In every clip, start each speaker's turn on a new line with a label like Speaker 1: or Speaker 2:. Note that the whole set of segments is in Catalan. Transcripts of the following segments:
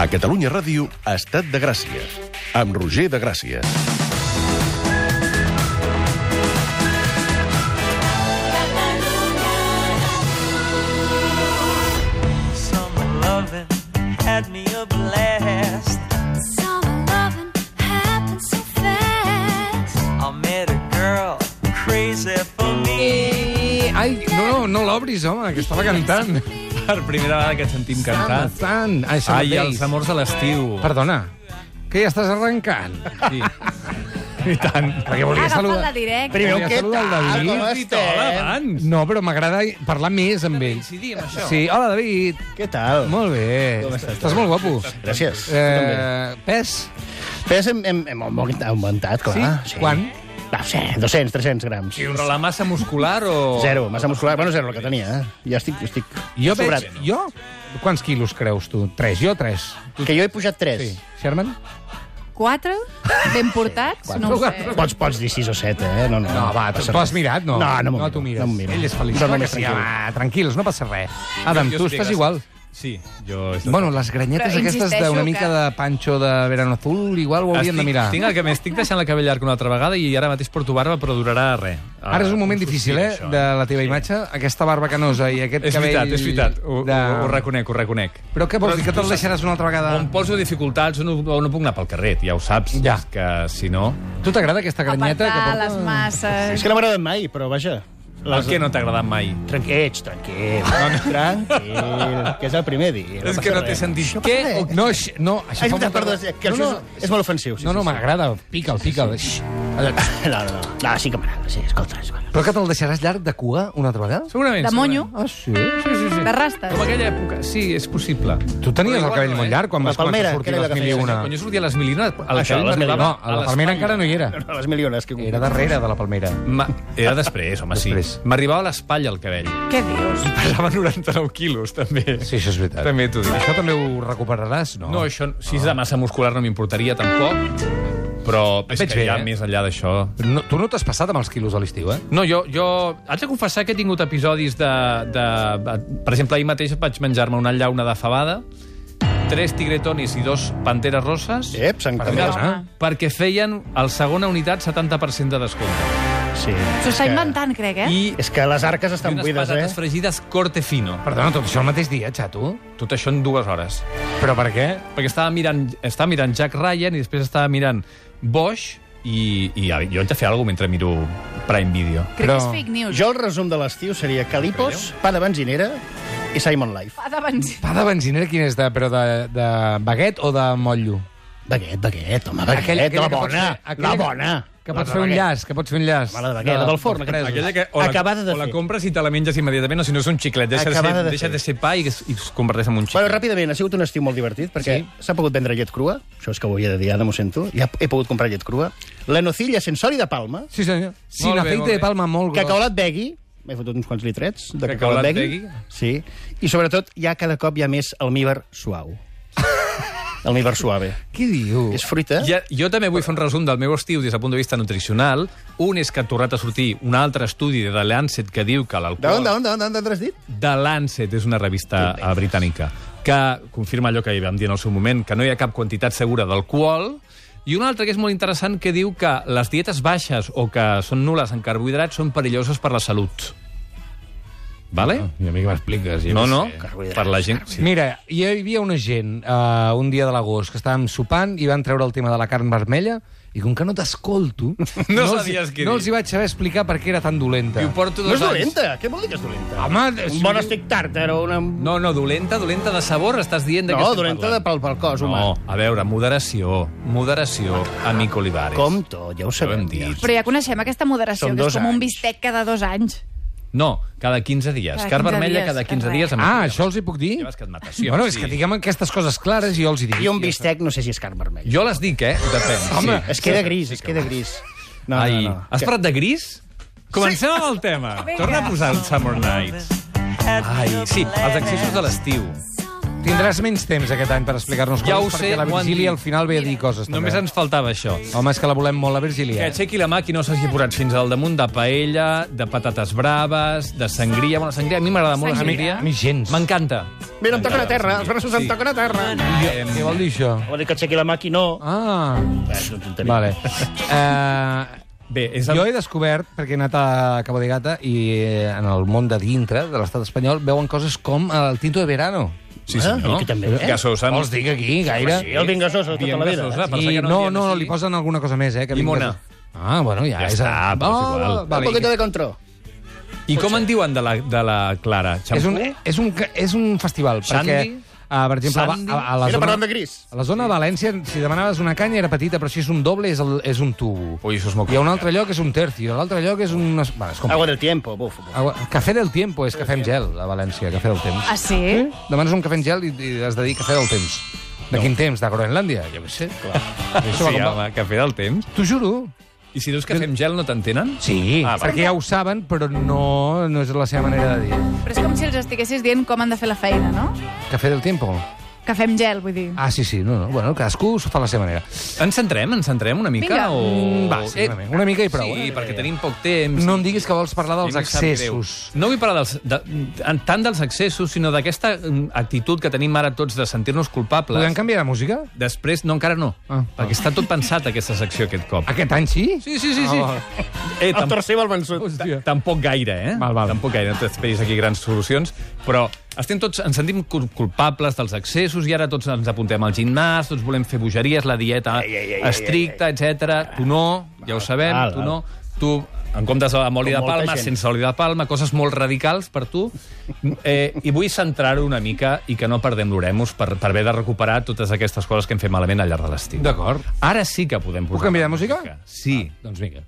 Speaker 1: A Catalunya Ràdio, Estat de Gràcia, amb Roger de Gràcia.
Speaker 2: Summer loving had me a blast.
Speaker 3: Summer loving happens so fast.
Speaker 2: I met a girl crazy for me.
Speaker 4: Ai, no, no, no l'obris, home, que estava cantant.
Speaker 5: Per primera vegada que et sentim
Speaker 6: Ah.
Speaker 5: cantar.
Speaker 4: Tant. Ai, Ai
Speaker 5: Ai, els amors de l'estiu.
Speaker 4: Perdona, que ja estàs arrencant.
Speaker 5: Sí. I tant.
Speaker 4: Perquè volia
Speaker 7: Agafa'l
Speaker 4: saludar...
Speaker 7: de directe.
Speaker 4: Primer, què tal?
Speaker 5: Com estem?
Speaker 4: Eh?
Speaker 5: abans.
Speaker 4: No, però m'agrada parlar més amb ell.
Speaker 5: Coincidir amb això.
Speaker 4: Sí, hola, David.
Speaker 6: Què tal?
Speaker 4: Molt bé.
Speaker 6: Com estàs?
Speaker 4: Estàs molt guapo.
Speaker 6: Gràcies.
Speaker 4: Eh, pes?
Speaker 6: Pes hem, hem, hem augmentat- augmentat, clar.
Speaker 4: Sí? Quant?
Speaker 6: No sé, 200, 300 grams.
Speaker 5: Però la massa muscular o...
Speaker 6: Zero, massa muscular. Bueno, zero, el que tenia, eh? Ja estic, estic
Speaker 4: Jo
Speaker 6: sobrat.
Speaker 4: veig... Jo? Quants quilos creus tu? Tres, jo tres.
Speaker 6: Que jo he pujat 3.
Speaker 4: Sí.
Speaker 6: Sí.
Speaker 4: Sherman?
Speaker 7: Quatre? Ben portats? No ho sé.
Speaker 6: Pots, pots dir 6 o 7, eh? No, no.
Speaker 4: No, va, tu
Speaker 6: passa
Speaker 4: t'ho has
Speaker 6: res.
Speaker 4: mirat? No,
Speaker 6: No, no m'ho
Speaker 4: no t'ho mires.
Speaker 6: miro, no m'ho miro.
Speaker 4: Ell és feliç.
Speaker 6: Jo
Speaker 4: Clar
Speaker 6: no
Speaker 4: que
Speaker 6: m'he
Speaker 4: sí,
Speaker 6: tranquil.
Speaker 4: home, tranquils, no passa res. Adam,
Speaker 5: Jo
Speaker 4: tu
Speaker 5: estic
Speaker 4: estàs
Speaker 5: gràcies.
Speaker 4: igual.
Speaker 5: Sí, jo... he estat-
Speaker 4: Bueno, les granyetes
Speaker 7: Però
Speaker 4: aquestes
Speaker 7: insisteixo
Speaker 4: d'una
Speaker 7: que-
Speaker 4: mica de panxo de verano azul, igual ho haurien
Speaker 5: estic,
Speaker 4: de mirar.
Speaker 5: Tinc el que m'estic deixant la cabell llarg una altra vegada i ara mateix porto barba, però durarà Ah, res.
Speaker 4: Ara és un moment difícil, eh, de la teva imatge. Aquesta barba canosa i aquest
Speaker 5: És
Speaker 4: cabell...
Speaker 5: veritat, és veritat. Ho,
Speaker 4: de-
Speaker 5: ho, ho reconec, ho reconec.
Speaker 4: Però què vols dir, que te'l deixaràs una altra vegada?
Speaker 5: On poso dificultats on no, on no puc anar pel carrer, ja ho saps.
Speaker 4: Ja.
Speaker 5: És que, si no...
Speaker 4: Tu t'agrada aquesta granyeta?
Speaker 7: Apartar
Speaker 4: que
Speaker 7: les
Speaker 6: És
Speaker 7: masses.
Speaker 6: que no m'ha agradat mai, però vaja.
Speaker 5: El que no t'ha agradat mai?
Speaker 6: Tranquils, tranquil. Tranquil, que és el primer dia.
Speaker 5: és
Speaker 6: passa
Speaker 5: que no t'he
Speaker 6: res.
Speaker 5: sentit.
Speaker 4: Què? Oh, No, x- no,
Speaker 6: Ah,
Speaker 4: això
Speaker 6: és
Speaker 4: fa
Speaker 6: veritat,
Speaker 4: molta-
Speaker 6: eh? perdó, és que
Speaker 4: No,
Speaker 6: això
Speaker 4: no,
Speaker 6: és, és molt ofensiu. Sí,
Speaker 4: no, no
Speaker 6: sí, sí.
Speaker 4: m'agrada. Pica'l, pica'l. Xxt. Allò-
Speaker 6: No, no, no. No, sí que m'agrada, sí, escolta. escolta.
Speaker 4: Però que te'l deixaràs llarg de cua una altra vegada?
Speaker 5: Segurament.
Speaker 7: De monyo?
Speaker 4: Ah,
Speaker 5: segurament.
Speaker 4: sí?
Speaker 5: Sí, sí, sí.
Speaker 7: De rastes?
Speaker 5: Com aquella època. Sí, és possible.
Speaker 4: Tu tenies el cabell molt llarg quan
Speaker 6: eh? La
Speaker 4: vas començar
Speaker 6: palmera,
Speaker 4: a sortir
Speaker 6: que era
Speaker 4: les
Speaker 6: la que
Speaker 4: mil i
Speaker 6: feia,
Speaker 4: una.
Speaker 5: Quan jo sortia a les Milines, el
Speaker 6: Això,
Speaker 5: cabell
Speaker 6: les
Speaker 5: m'arribava
Speaker 4: No, a la
Speaker 5: les-
Speaker 4: palmera encara no hi era.
Speaker 6: No, les miliones que...
Speaker 4: Era darrere de la palmera.
Speaker 5: Ma... Era després, home, sí.
Speaker 4: Després.
Speaker 5: M'arribava a l'espatlla el cabell.
Speaker 7: Què dius?
Speaker 5: Pesava 99 quilos, també.
Speaker 4: Sí, això és veritat.
Speaker 5: També t'ho dic.
Speaker 4: Això també ho recuperaràs, no?
Speaker 5: No, això, si és de massa muscular no m'importaria tampoc, però és
Speaker 4: Veig
Speaker 5: que
Speaker 4: bé,
Speaker 5: ja
Speaker 4: eh?
Speaker 5: més enllà d'això...
Speaker 4: no tu no t'has passat amb els quilos a l'estiu, eh?
Speaker 5: No, jo, jo... Haig de confessar que he tingut episodis de... de... Per exemple, ahir mateix vaig menjar-me una llauna de fabada, tres tigretonis i dos panteres rosses,
Speaker 4: Eh,
Speaker 6: Ep, Sant
Speaker 4: Perdó.
Speaker 6: Camil.
Speaker 4: Ah.
Speaker 5: perquè feien el segona unitat 70% de descompte.
Speaker 6: Sí.
Speaker 7: S'ho està
Speaker 6: És que-
Speaker 7: inventant, crec, eh?
Speaker 5: I,
Speaker 6: És que les arques
Speaker 5: i
Speaker 6: estan
Speaker 5: unes
Speaker 6: buides, eh?
Speaker 5: patates fregides corte fino.
Speaker 4: Perdona, tot això el mateix dia, xato.
Speaker 5: Tot això en dues hores.
Speaker 4: Però per què?
Speaker 5: perquè estava mirant, estava mirant Jack Ryan i després estava mirant Bosch i, i a- jo haig de fer alguna cosa mentre miro Prime Video.
Speaker 7: Crec
Speaker 4: però-
Speaker 7: que és fake news.
Speaker 6: Jo el resum de l'estiu seria Calipos, pa de benzinera i Simon Life.
Speaker 7: Pa de benzina.
Speaker 4: Pa de benzinera quin és, de, però de, de baguet o de motllo?
Speaker 6: D'aquest, d'aquest, home, d'aquest,
Speaker 4: Aquella- aquella
Speaker 6: la
Speaker 4: que pots
Speaker 6: bona,
Speaker 4: fer- aquella
Speaker 6: la
Speaker 4: que-
Speaker 6: bona.
Speaker 4: Que
Speaker 6: La
Speaker 4: pots
Speaker 6: de
Speaker 4: fer un
Speaker 6: baguet.
Speaker 4: llaç, que pots fer un llaç.
Speaker 6: Mala de baguet, del forn,
Speaker 4: dels presos.
Speaker 6: aquella que- o la-
Speaker 5: Acabada
Speaker 6: o la
Speaker 5: compres i te la menges immediatament, o si no és un xiclet,
Speaker 6: deixa de ser- Acabada de deixa fer. de
Speaker 5: ser pa i, i es converteix en un
Speaker 6: Bueno, ràpidament, ha sigut un estiu molt divertit, perquè s'ha pogut vendre llet crua, això és que ho havia de dir, ara m'ho sento, ja he pogut comprar llet crua, la nocilla sense oli de palma,
Speaker 4: Sí, senyor. Sí,
Speaker 5: Molt
Speaker 4: la
Speaker 5: bé,
Speaker 4: feita
Speaker 5: molt
Speaker 4: de
Speaker 5: bé.
Speaker 4: palma molt gros.
Speaker 6: cacaolat begui, m'he fotut uns quants litrets de
Speaker 5: Cacaolat
Speaker 6: cacaolat begui,
Speaker 5: Begui.
Speaker 6: sí, i sobretot ja cada cop hi ha més almíbar suau. Almíbar suave.
Speaker 4: Què diu?
Speaker 6: És fruita.
Speaker 5: Uh. Ja, jo també vull fer un resum del meu estiu des del punt de vista nutricional. Un és que ha tornat a sortir un altre estudi de The Lancet que diu que l'alcohol...
Speaker 6: D'on, d'on, d'on, d'on has dit?
Speaker 5: The Lancet és una revista eh, britànica que confirma allò que hi vam dir en el seu moment, que no hi ha cap quantitat segura d'alcohol, i una altra que és molt interessant que diu que les dietes baixes o que són nules en carbohidrats són perilloses per la salut. Vale?
Speaker 4: Ah, I a mi que m'expliques.
Speaker 5: No, no,
Speaker 6: Carbohidrats,
Speaker 5: per la gent... Sí.
Speaker 4: Mira, hi havia una gent uh, un dia de l'agost que estàvem sopant i van treure el tema de la carn vermella i com que no t'escolto...
Speaker 5: No
Speaker 4: els-
Speaker 5: sabies què
Speaker 4: No
Speaker 5: dir.
Speaker 4: els hi vaig saber explicar per què era tan dolenta.
Speaker 5: I ho porto
Speaker 6: No
Speaker 5: dos
Speaker 6: és
Speaker 5: anys. Ah,
Speaker 6: dolenta, què vol dir que és dolenta?
Speaker 4: Home,
Speaker 6: Un
Speaker 4: sí.
Speaker 6: bon estic tàrtar o una... No,
Speaker 5: No, no, dolenta, dolenta de sabor, estàs dient de què
Speaker 6: no
Speaker 5: estem
Speaker 6: dolenta de
Speaker 5: parlant.
Speaker 6: pel, pel cos, home.
Speaker 5: No, a veure, moderació, moderació, amic Olivares.
Speaker 6: Com tot, ja ho
Speaker 5: Ja ho hem
Speaker 6: sabem.
Speaker 5: dit.
Speaker 7: Però ja coneixem aquesta moderació,
Speaker 6: Són
Speaker 7: que
Speaker 6: dos
Speaker 7: és com un
Speaker 6: anys.
Speaker 7: bistec cada dos anys.
Speaker 5: No, cada 15 dies.
Speaker 7: Cada
Speaker 5: Car
Speaker 7: 15
Speaker 5: vermella
Speaker 7: dies,
Speaker 5: cada 15
Speaker 7: res.
Speaker 5: dies. amb
Speaker 4: Ah,
Speaker 5: el-
Speaker 4: això els hi puc dir?
Speaker 5: Ja veus que et mates, sí,
Speaker 4: bueno,
Speaker 5: home,
Speaker 4: és
Speaker 5: sí.
Speaker 4: que diguem aquestes coses clares i jo els hi dic.
Speaker 6: I un bistec, no sé si és carn vermella.
Speaker 5: Jo les dic, eh? Depèn.
Speaker 4: Home,
Speaker 6: Es queda gris, es queda gris. No,
Speaker 5: Ai,
Speaker 6: no, no.
Speaker 5: Has parlat de gris? Comencem amb el tema. Torna a posar el Summer Nights.
Speaker 2: Had me
Speaker 5: Ai,
Speaker 2: a
Speaker 5: sí, els
Speaker 2: blast.
Speaker 5: accessos de l'estiu.
Speaker 4: Tinc Tindràs menys temps aquest any per explicar-nos
Speaker 5: Ja ho
Speaker 4: coses,
Speaker 5: sé,
Speaker 4: perquè la
Speaker 5: m'ho han dit.
Speaker 4: Virgília al final ve a dir coses.
Speaker 5: Només
Speaker 4: també.
Speaker 5: ens faltava això.
Speaker 4: Home, és que la volem molt, la Virgília.
Speaker 5: Que
Speaker 4: eh?
Speaker 5: aixequi la mà qui no s'hagi posat fins al damunt de paella, de patates braves, de sangria. Bueno, la sangria, a mi m'agrada molt la
Speaker 4: Sangria.
Speaker 5: sangria.
Speaker 4: A mi gens.
Speaker 5: M'encanta.
Speaker 6: Mira, em toquen a terra, els braços em toquen a terra.
Speaker 4: Què vol dir això?
Speaker 6: Vol dir que aixequi la mà aquí, no.
Speaker 4: Ah,
Speaker 6: Eh, és una tonteria.
Speaker 4: vale. Eh,
Speaker 5: Bé, és el...
Speaker 4: jo he descobert, perquè he anat a Cabo de Gata i eh, en el món de dintre de l'estat espanyol veuen coses com el Tinto de Verano.
Speaker 5: Sí,
Speaker 6: Ah, aquí també, eh?
Speaker 5: Gassosa.
Speaker 4: No els dic aquí, gaire.
Speaker 6: Sí, el vingasosa, tota la vida.
Speaker 5: Vingasosa. pensava
Speaker 4: I
Speaker 5: que no
Speaker 4: no,
Speaker 5: dient
Speaker 4: no, no,
Speaker 5: així.
Speaker 4: li posen alguna cosa més, eh? Que
Speaker 5: Llimona.
Speaker 4: vinga- Ah, bueno, ja,
Speaker 5: Ja
Speaker 4: és... Oh,
Speaker 5: està, però és igual.
Speaker 4: va,
Speaker 6: Un
Speaker 4: vale.
Speaker 6: poquito de control.
Speaker 5: I com en diuen de la, de la Clara?
Speaker 4: És un, eh?
Speaker 5: Xampú?
Speaker 4: és un, és un festival,
Speaker 5: Sandy?
Speaker 4: perquè... Uh, per exemple, a,
Speaker 5: Sandy?
Speaker 4: a, a, la
Speaker 6: Era
Speaker 4: zona,
Speaker 6: parlant de gris.
Speaker 4: a la zona de València, si demanaves una canya era petita, però si és un doble és, el, és un tubo.
Speaker 5: Ui, això és molt
Speaker 4: I a un altre lloc és un tercio, a l'altre lloc és un... Bueno, és com... Ah,
Speaker 6: Agua del tiempo, buf. buf.
Speaker 4: Agua... Café del tiempo és cafè amb gel, a València, cafè del temps.
Speaker 7: Ah, sí?
Speaker 4: Demanes un cafè amb gel i, i has de dir cafè del temps. De quin temps? De Groenlàndia? Jo què sé. Clar.
Speaker 5: Sí, home, cafè del temps.
Speaker 4: T'ho juro.
Speaker 5: I si dius que fem gel no t'entenen?
Speaker 4: Sí,
Speaker 5: Ah,
Speaker 4: ah,
Speaker 5: va.
Speaker 4: perquè ja ho saben, però no, no és la seva manera de dir.
Speaker 7: Però és com si els estiguessis dient com han de fer la feina, no?
Speaker 4: Cafè del tiempo?
Speaker 7: Que fem gel, vull dir.
Speaker 4: Ah, sí, sí, no, no. Bueno, cadascú s'ho fa a la seva manera.
Speaker 5: Ens centrem, ens centrem una mica?
Speaker 7: Vinga.
Speaker 5: O...
Speaker 4: Mm, va, sí, una mica. Una mica i prou,
Speaker 5: Oh, eh, Sí,
Speaker 4: eh?
Speaker 5: perquè tenim poc temps.
Speaker 4: No em diguis que vols parlar dels
Speaker 5: I em sap
Speaker 4: excessos.
Speaker 5: greu. No vull parlar dels, de, en- tant dels excessos, sinó d'aquesta mm, actitud que tenim ara tots de sentir-nos culpables.
Speaker 4: Podem canviar de música?
Speaker 5: Després, no, encara no,
Speaker 4: Ah.
Speaker 5: ah. perquè està tot pensat aquesta secció aquest cop.
Speaker 4: Aquest any sí?
Speaker 5: Sí, sí, sí, sí.
Speaker 4: Ah,
Speaker 5: eh,
Speaker 6: El
Speaker 5: tampoc,
Speaker 6: tercer va al vençut.
Speaker 4: Hòstia.
Speaker 5: tampoc gaire, eh?
Speaker 4: Val, val.
Speaker 5: Tampoc gaire, no t'esperis aquí grans solucions, però estem tots, ens sentim cul- culpables dels excessos i ara tots ens apuntem al gimnàs, tots volem fer bogeries, la dieta
Speaker 6: Ai, ai, ai,
Speaker 5: estricta, etc. Tu no, ja ho sabem,
Speaker 6: val,
Speaker 5: tu
Speaker 6: val.
Speaker 5: no. Tu, en comptes amb oli
Speaker 6: Com
Speaker 5: de
Speaker 6: molta
Speaker 5: palma,
Speaker 6: gent.
Speaker 5: sense oli de palma, coses molt radicals per tu. Eh, I vull centrar-ho una mica i que no perdem l'oremus per, per haver de recuperar totes aquestes coses que hem fet malament al llarg de l'estiu.
Speaker 4: D'acord.
Speaker 5: Ara sí que podem posar...
Speaker 4: Puc canviar de música?
Speaker 5: Sí.
Speaker 4: Doncs vinga.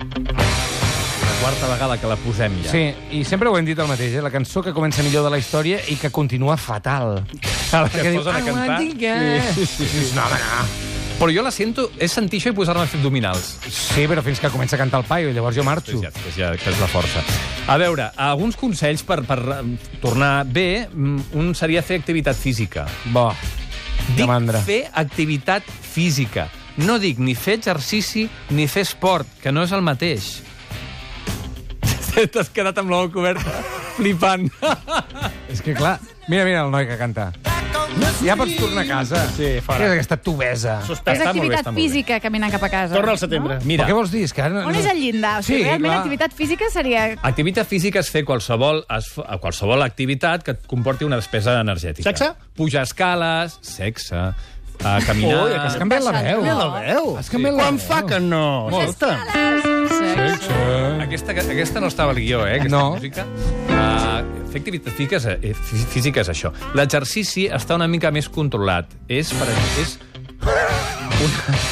Speaker 5: La quarta vegada que la posem ja.
Speaker 4: Sí, i sempre ho hem dit el mateix, eh? la cançó que comença millor de la història i que continua fatal.
Speaker 5: A la que es posen a
Speaker 4: "I want
Speaker 5: cantar.
Speaker 4: it again". No, home, no.
Speaker 5: Però jo la sento, és sentir això i posar-me a fer abdominals.
Speaker 4: Sí, però fins que comença a cantar el paio, llavors jo marxo.
Speaker 5: Ja, ja, ja, que és la força. A veure, alguns consells per, per eh, tornar bé. Mm, Un seria fer activitat física.
Speaker 4: Bo, que
Speaker 5: Dic
Speaker 4: mandra.
Speaker 5: fer activitat física. No dic ni fer exercici ni fer esport, que no és el mateix. T'has quedat amb l'ou cobert flipant.
Speaker 4: És que clar, mira, mira el noi que canta. Ja pots tornar a casa.
Speaker 5: Sí, fora.
Speaker 4: Què és aquesta tubesa?
Speaker 6: Suspès.
Speaker 7: És
Speaker 5: està molt bé,
Speaker 7: activitat
Speaker 5: està molt bé.
Speaker 7: física caminar cap a casa.
Speaker 6: Torna al setembre.
Speaker 4: Mira.
Speaker 5: Mira,
Speaker 4: Però què vols dir? És que ara...
Speaker 7: No?
Speaker 4: no-
Speaker 7: On és el llindar? O sigui,
Speaker 4: Sí,
Speaker 7: realment
Speaker 4: clar.
Speaker 7: activitat física seria...
Speaker 5: Activitat física és fer qualsevol, es, qualsevol activitat que et comporti una despesa energètica.
Speaker 6: Sexe?
Speaker 5: Pujar escales, sexe, a caminar...
Speaker 6: Ui,
Speaker 4: Has canviat la veu.
Speaker 6: Mira la veu.
Speaker 4: Has canviat la
Speaker 6: Quan
Speaker 4: veu.
Speaker 6: fa que no? Escolta.
Speaker 7: Sí.
Speaker 5: Aquesta, aquesta no estava al guió, eh? Aquesta
Speaker 4: No.
Speaker 5: música. Uh, fer activitat física és, eh, fí- física és això. L'exercici està una mica més controlat. És, per exemple, és... Una,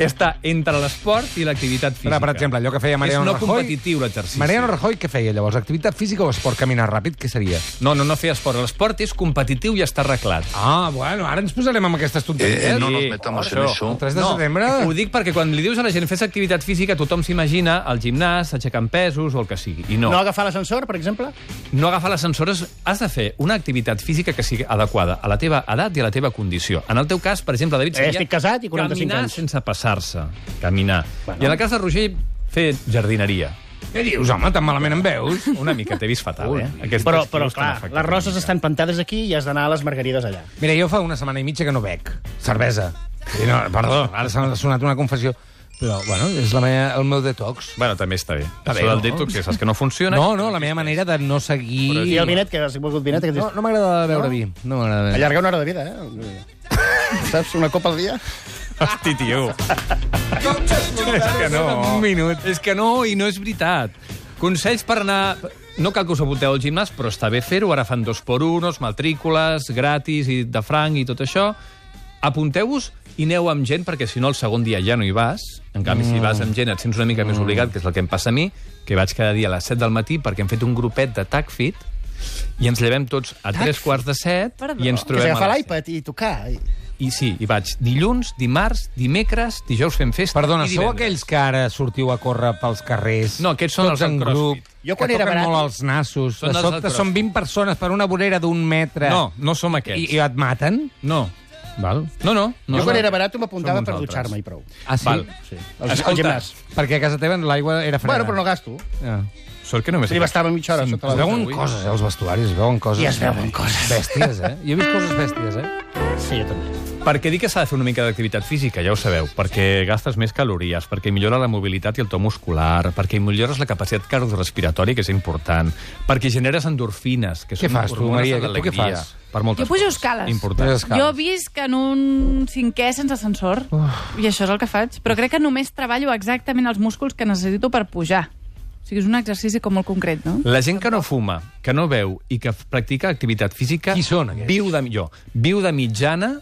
Speaker 5: està entre l'esport i l'activitat física.
Speaker 4: Ara, per exemple, allò que feia Mariano
Speaker 5: és no
Speaker 4: Rajoy...
Speaker 5: competitiu, l'exercici.
Speaker 4: Mariano Rajoy què feia llavors? Activitat física o esport? Caminar ràpid, què seria?
Speaker 5: No, no, no fer esport. L'esport és competitiu i està arreglat.
Speaker 4: Ah, bueno, ara ens posarem amb aquestes tonteries.
Speaker 8: Eh, eh, no nos metamos en eso.
Speaker 4: El 3 de setembre...
Speaker 5: Ho dic perquè quan li dius a la gent fes activitat física, tothom s'imagina al gimnàs, aixecant pesos o el que sigui. I no.
Speaker 6: No agafar l'ascensor, per exemple?
Speaker 5: No agafar l'ascensor, és- has de fer una activitat física que sigui adequada a la teva edat i a la teva condició. En el teu cas, per exemple, David,
Speaker 6: Eh, estic casat i 45
Speaker 5: caminar
Speaker 6: anys.
Speaker 5: sense passar-se. Caminar.
Speaker 6: Bueno.
Speaker 5: Bueno. I en el cas de Roger, fer jardineria.
Speaker 4: Què dius, home? Tan malament em veus?
Speaker 5: Una mica, t'he vist fatal,
Speaker 4: Ui.
Speaker 5: eh? Aquests
Speaker 6: Però,
Speaker 5: estius
Speaker 6: però
Speaker 5: t'han
Speaker 6: clar,
Speaker 5: afectat
Speaker 6: les roses
Speaker 5: una mica.
Speaker 6: estan plantades aquí i has d'anar a les margarides allà.
Speaker 4: Mira, jo fa una setmana i mitja que no bec cervesa. I no, perdó, ara s'ha sonat una confessió. Però, bueno, és la meva, el meu detox.
Speaker 5: Bueno, també està bé.
Speaker 4: Està bé,
Speaker 5: Això del
Speaker 4: no?
Speaker 5: detox, ja saps que no funciona.
Speaker 4: No, no, la meva manera de no seguir...
Speaker 6: I el vinet, que has volgut vinet, que dius...
Speaker 4: No, no m'agrada beure vi. No m'agrada beure.
Speaker 6: Allargar una hora de vida, eh? Saps? Una copa al dia?
Speaker 5: Hosti, tio. és que no.
Speaker 4: Un minut.
Speaker 5: És que no, i no és veritat. Consells per anar... No cal que us apunteu al gimnàs, però està bé fer-ho. Ara fan dos por unos, matrícules, gratis i de franc i tot això. Apunteu-vos i aneu amb gent, perquè si no el segon dia ja no hi vas. En canvi, si vas amb gent et sents una mica més obligat, que és el que em passa a mi, que vaig cada dia a les 7 del matí perquè hem fet un grupet de TACFIT i ens llevem tots a tres quarts de set
Speaker 7: Perdó.
Speaker 5: i ens
Speaker 6: Que
Speaker 5: trobem a
Speaker 6: s'agafa
Speaker 5: les set.
Speaker 6: l'iPad i tocar. I...
Speaker 5: I sí, hi vaig dilluns, dimarts, dimecres, dijous fent festa
Speaker 4: Perdona,
Speaker 5: i
Speaker 4: sou
Speaker 5: divendres.
Speaker 4: aquells que ara sortiu a córrer pels carrers?
Speaker 5: No, aquests són
Speaker 4: tots
Speaker 5: els del
Speaker 4: en grup,
Speaker 5: CrossFit.
Speaker 6: Jo
Speaker 4: jo
Speaker 6: quan
Speaker 4: quan que
Speaker 6: era
Speaker 4: toquen
Speaker 6: barat-
Speaker 4: molt els nassos.
Speaker 5: Són
Speaker 4: de
Speaker 5: els del
Speaker 4: sobte són
Speaker 5: CrossFit.
Speaker 4: 20 persones per una vorera d'un metre.
Speaker 5: No, no som
Speaker 4: I,
Speaker 5: aquests.
Speaker 4: I et maten?
Speaker 5: No. Val? No, no. no
Speaker 6: jo quan
Speaker 5: som-
Speaker 6: era barat m'apuntava
Speaker 5: Som uns
Speaker 6: per
Speaker 5: altres.
Speaker 6: dutxar-me i prou.
Speaker 4: Ah, sí?
Speaker 5: Val.
Speaker 6: Sí.
Speaker 5: Escolta.
Speaker 6: Al, al gimnàs.
Speaker 4: Perquè a casa teva l'aigua era freda.
Speaker 6: Bueno, però no gasto.
Speaker 4: Ah.
Speaker 5: Sort que només...
Speaker 6: Li bastava mitja hora
Speaker 5: Sí,
Speaker 6: sota
Speaker 4: Es
Speaker 6: la
Speaker 4: veuen
Speaker 5: Avui.
Speaker 4: coses, eh, els vestuaris, es veuen coses...
Speaker 6: I es veuen coses.
Speaker 4: Bèsties, eh? Jo he vist coses bèsties, eh?
Speaker 6: Sí, jo també.
Speaker 5: Perquè dic que s'ha de fer una mica d'activitat física, ja ho sabeu, perquè gastes més calories, perquè millora la mobilitat i el to muscular, perquè millores la capacitat cardiorrespiratòria, que és important, perquè generes endorfines, que
Speaker 4: Què
Speaker 5: són
Speaker 4: fas tu,
Speaker 5: hormones
Speaker 4: Maria? Tu
Speaker 5: de
Speaker 4: què
Speaker 5: l'alegria,
Speaker 4: fas?
Speaker 5: Per moltes
Speaker 7: Jo pujo
Speaker 5: coses.
Speaker 7: escales.
Speaker 5: Important.
Speaker 4: Pujo
Speaker 7: Jo visc en un cinquè sense ascensor, i això és el que faig. Però crec que només treballo exactament els músculs que necessito per pujar. O sigui, és un exercici com molt concret, no?
Speaker 5: La gent que no fuma, que no veu i que practica activitat física...
Speaker 4: Qui són, aquests?
Speaker 5: Viu de, jo, viu de mitjana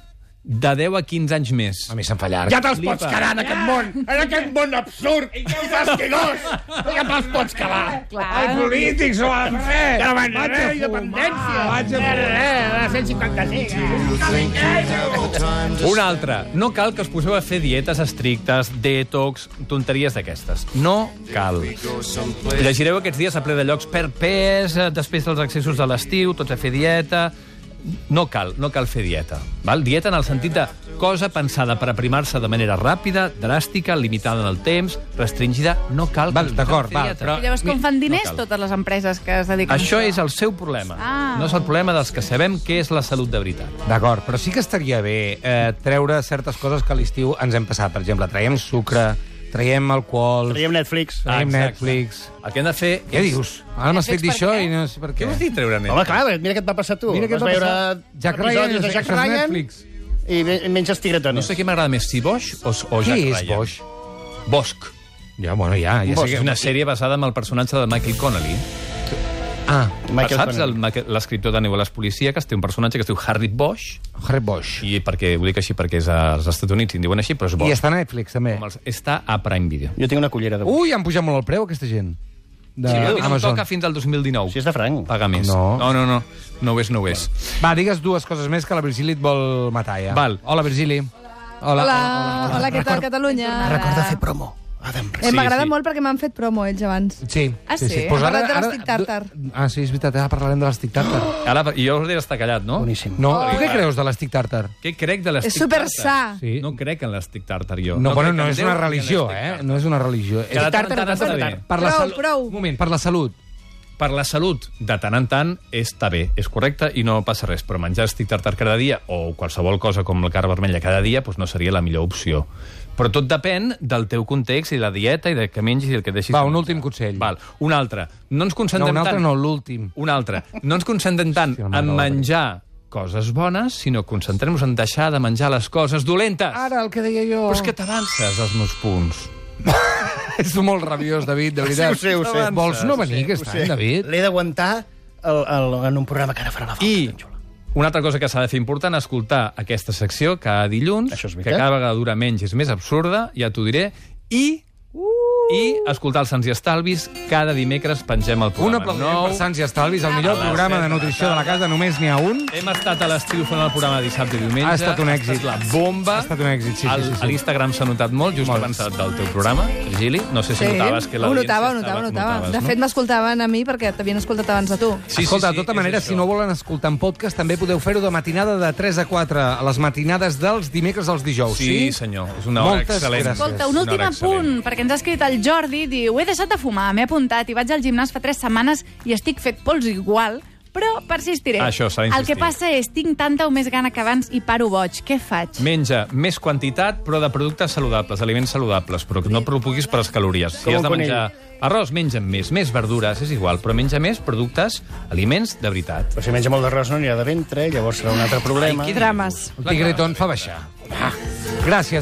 Speaker 5: de 10 a 15 anys més.
Speaker 4: A mi se'm fa llarg.
Speaker 6: Ja te'ls pots quedar en aquest món, en aquest món absurd i fastigós. Ja te'ls pots quedar.
Speaker 7: Clar.
Speaker 4: polítics ho han fet! Ja van
Speaker 6: Vaig a independència. Ah, Vaig a... La 156.
Speaker 5: Un altre. No cal que us poseu a fer dietes estrictes, detox, tonteries d'aquestes. No cal. Llegireu aquests dies a ple de llocs per pes, eh, després dels accessos de l'estiu, tots a fer dieta... No cal, no cal fer dieta. Val? Dieta en el sentit de cosa pensada per aprimar-se de manera ràpida, dràstica, limitada en el temps, restringida. No cal.
Speaker 4: Val,
Speaker 5: que us
Speaker 4: d'acord,
Speaker 5: poseu a
Speaker 4: val,
Speaker 5: fer dieta.
Speaker 4: però-
Speaker 7: Llavors, com fan diners
Speaker 5: cal.
Speaker 7: totes les empreses que es dediquen
Speaker 5: Això
Speaker 7: a
Speaker 5: és el seu problema.
Speaker 7: Ah.
Speaker 5: No és el problema dels que sabem què és la salut de veritat.
Speaker 4: D'acord, però sí que estaria bé eh, treure certes coses que a l'estiu ens hem passat. Per exemple, traiem sucre, traiem alcohol, traiem,
Speaker 6: Traiem Netflix.
Speaker 5: Ah, exacte.
Speaker 4: Netflix...
Speaker 5: El que hem de fer
Speaker 4: Què
Speaker 5: és...
Speaker 4: dius? Ara m'has fet dir
Speaker 7: Netflix
Speaker 4: això
Speaker 7: per què?
Speaker 4: i no sé per
Speaker 5: Què
Speaker 4: què.
Speaker 5: vols dir treure net?
Speaker 6: Home, clar, mira què et va passar a tu.
Speaker 4: Mira què et
Speaker 6: Vas
Speaker 4: va
Speaker 6: Doncs veure
Speaker 4: passar. Jack Ryan,
Speaker 6: episodis de Jack
Speaker 4: això és
Speaker 6: Ryan
Speaker 4: Netflix.
Speaker 6: i me- i menges tigretones.
Speaker 5: No sé què m'agrada més, si Bosch o, o
Speaker 4: Què
Speaker 5: Jack
Speaker 4: és
Speaker 5: Ryan.
Speaker 4: Bosch?
Speaker 5: Bosch.
Speaker 4: Ja, bueno, ja. ja sé
Speaker 5: Ja Bosch.
Speaker 4: que...
Speaker 5: És una sèrie basada en el personatge de Michael Connelly.
Speaker 4: Ah,
Speaker 6: Michael
Speaker 5: Saps el
Speaker 6: Connelly.
Speaker 5: Ma- l'escriptor de novel·les policíaques? Té un personatge que es diu Harry Bosch,
Speaker 4: Harry Bosch.
Speaker 5: i perquè ho dic així perquè és als Estats Units i en diuen així, però
Speaker 4: I
Speaker 5: és Bosch.
Speaker 4: està a Netflix, també.
Speaker 5: Com els- Està a Prime Video.
Speaker 6: Jo tinc una cullera de Bosch.
Speaker 4: Ui, han pujat molt el preu, aquesta gent. De
Speaker 5: Si no, no
Speaker 4: Amazon.
Speaker 5: toca fins al 2019.
Speaker 6: Si és de franc.
Speaker 5: Paga més.
Speaker 4: No.
Speaker 5: no, no. No, no ho és, no ho és.
Speaker 4: Va, digues dues coses més que la Virgili et vol matar, ja.
Speaker 5: Val.
Speaker 4: Hola, Virgili.
Speaker 8: Hola, hola, hola, què tal, Catalunya?
Speaker 6: Recorda fer promo. Adam.
Speaker 8: Eh,
Speaker 5: Sí,
Speaker 8: M'agrada
Speaker 5: sí.
Speaker 8: molt perquè m'han fet promo ells abans.
Speaker 4: Sí.
Speaker 7: Ah, sí?
Speaker 4: Pues ara-
Speaker 8: Hem parlat de
Speaker 4: ara-
Speaker 8: l'estic tàrtar.
Speaker 4: Ah, sí, és veritat, ara parlarem de l'estic tàrtar.
Speaker 5: Ara, jo us diré estar callat, no?
Speaker 6: Boníssim.
Speaker 4: No, oh. tu què creus de l'estic tàrtar?
Speaker 5: Què crec de l'estic
Speaker 8: És super
Speaker 5: tàrtar?
Speaker 8: sa.
Speaker 4: Sí.
Speaker 5: No crec en l'estic tàrtar, jo.
Speaker 4: No, no, bueno,
Speaker 5: crec
Speaker 4: no
Speaker 5: en
Speaker 4: és
Speaker 5: Déu
Speaker 4: una
Speaker 5: ni en
Speaker 4: religió,
Speaker 5: l'estic
Speaker 4: eh?
Speaker 5: tàrtar.
Speaker 4: No és una religió. És
Speaker 5: de tant en
Speaker 4: tàrtar,
Speaker 5: tant
Speaker 4: tàrtar,
Speaker 5: està
Speaker 4: tàrtar.
Speaker 5: bé.
Speaker 4: Per la
Speaker 8: Prou,
Speaker 4: salut.
Speaker 8: prou.
Speaker 4: Un moment, per la salut.
Speaker 5: per la salut, de tant en tant, està bé, és correcte i no passa res, però menjar estic tartar cada dia o qualsevol cosa com la carn vermella cada dia doncs no seria la millor opció. Però tot depèn del teu context i la dieta i del que mengis i el que deixis.
Speaker 4: Va,
Speaker 5: de
Speaker 4: un
Speaker 5: menjar.
Speaker 4: últim consell.
Speaker 5: Val, un altre. No ens
Speaker 4: No,
Speaker 5: concentrem
Speaker 4: un altre
Speaker 5: tant...
Speaker 4: no, l'últim.
Speaker 5: Un altre. No ens concentrem tant
Speaker 4: Hòstia, la mare
Speaker 5: en
Speaker 4: de la
Speaker 5: menjar coses bones, sinó concentrem-nos en deixar de menjar les coses dolentes.
Speaker 4: Ara, el que deia jo...
Speaker 5: Però és que t'avances als meus punts.
Speaker 4: És molt rabiós, David, de veritat.
Speaker 6: Sí, ho sé, ho sé.
Speaker 4: Vols no venir
Speaker 6: Ho
Speaker 4: aquest
Speaker 6: sé.
Speaker 4: any, David?
Speaker 6: L'he d'aguantar el- el- en un programa que ara farà la falta.
Speaker 5: I
Speaker 6: tan xula.
Speaker 5: una altra cosa que s'ha de fer important, escoltar aquesta secció cada dilluns,
Speaker 6: Això és
Speaker 5: que
Speaker 6: veritat.
Speaker 5: cada vegada dura menys, és més absurda, ja t'ho diré, i... Uh! I escoltar els Sants i Estalvis cada dimecres pengem el
Speaker 4: Un
Speaker 5: programa.
Speaker 4: aplaudiment
Speaker 5: nou.
Speaker 4: per Sants i Estalvis, el millor
Speaker 5: A les
Speaker 4: programa
Speaker 5: set
Speaker 4: de
Speaker 5: de la
Speaker 4: nutrició de la casa, només n'hi ha un.
Speaker 5: Hem estat a l'estiu fent el programa dissabte i diumenge.
Speaker 4: Ha estat un èxit.
Speaker 5: Ha estat la bomba.
Speaker 4: Ha estat un èxit, sí, sí,
Speaker 5: Al-
Speaker 4: sí, sí.
Speaker 5: A l'Instagram s'ha notat molt, just
Speaker 4: Molt.
Speaker 5: abans del teu programa, Gili. No sé si
Speaker 8: Sí,
Speaker 5: notaves que
Speaker 8: ho
Speaker 5: l'audiència
Speaker 8: notava, ho
Speaker 5: estava-
Speaker 8: notava, ho notava.
Speaker 5: notaves,
Speaker 8: De
Speaker 5: no?
Speaker 8: fet, m'escoltaven a mi perquè t'havien escoltat abans de tu.
Speaker 5: Sí, sí,
Speaker 4: Escolta,
Speaker 5: sí,
Speaker 4: de tota
Speaker 5: és
Speaker 4: manera, si
Speaker 5: això.
Speaker 4: no volen escoltar en podcast, també podeu fer-ho de matinada de 3 a 4, a les matinades dels dimecres als dijous.
Speaker 5: Sí, senyor, és una hora
Speaker 4: Moltes
Speaker 5: excel·lent.
Speaker 4: gràcies.
Speaker 7: Escolta, un
Speaker 5: Una
Speaker 7: últim
Speaker 5: hora excel·lent.
Speaker 7: apunt, perquè ens ha escrit el Jordi, diu, he deixat de fumar, m'he apuntat i vaig al gimnàs fa tres setmanes i estic fet pols igual, però persistiré.
Speaker 5: Ah, això s'ha
Speaker 7: el
Speaker 5: d'insistir.
Speaker 7: que passa és, tinc tanta o més gana que abans i paro boig. Què faig?
Speaker 5: Menja més quantitat, però de productes saludables, aliments saludables, però que no preocupis per les calories.
Speaker 6: Com
Speaker 5: Si has
Speaker 6: un
Speaker 5: de
Speaker 6: conill.
Speaker 5: menjar arròs, menja més, més verdures, és igual, però menja més productes, aliments de veritat.
Speaker 6: Però si menja molt d'arròs no anirà de ventre, llavors serà un altre problema.
Speaker 8: Drames.
Speaker 4: El tigretón fa baixar. Ah, gràcies.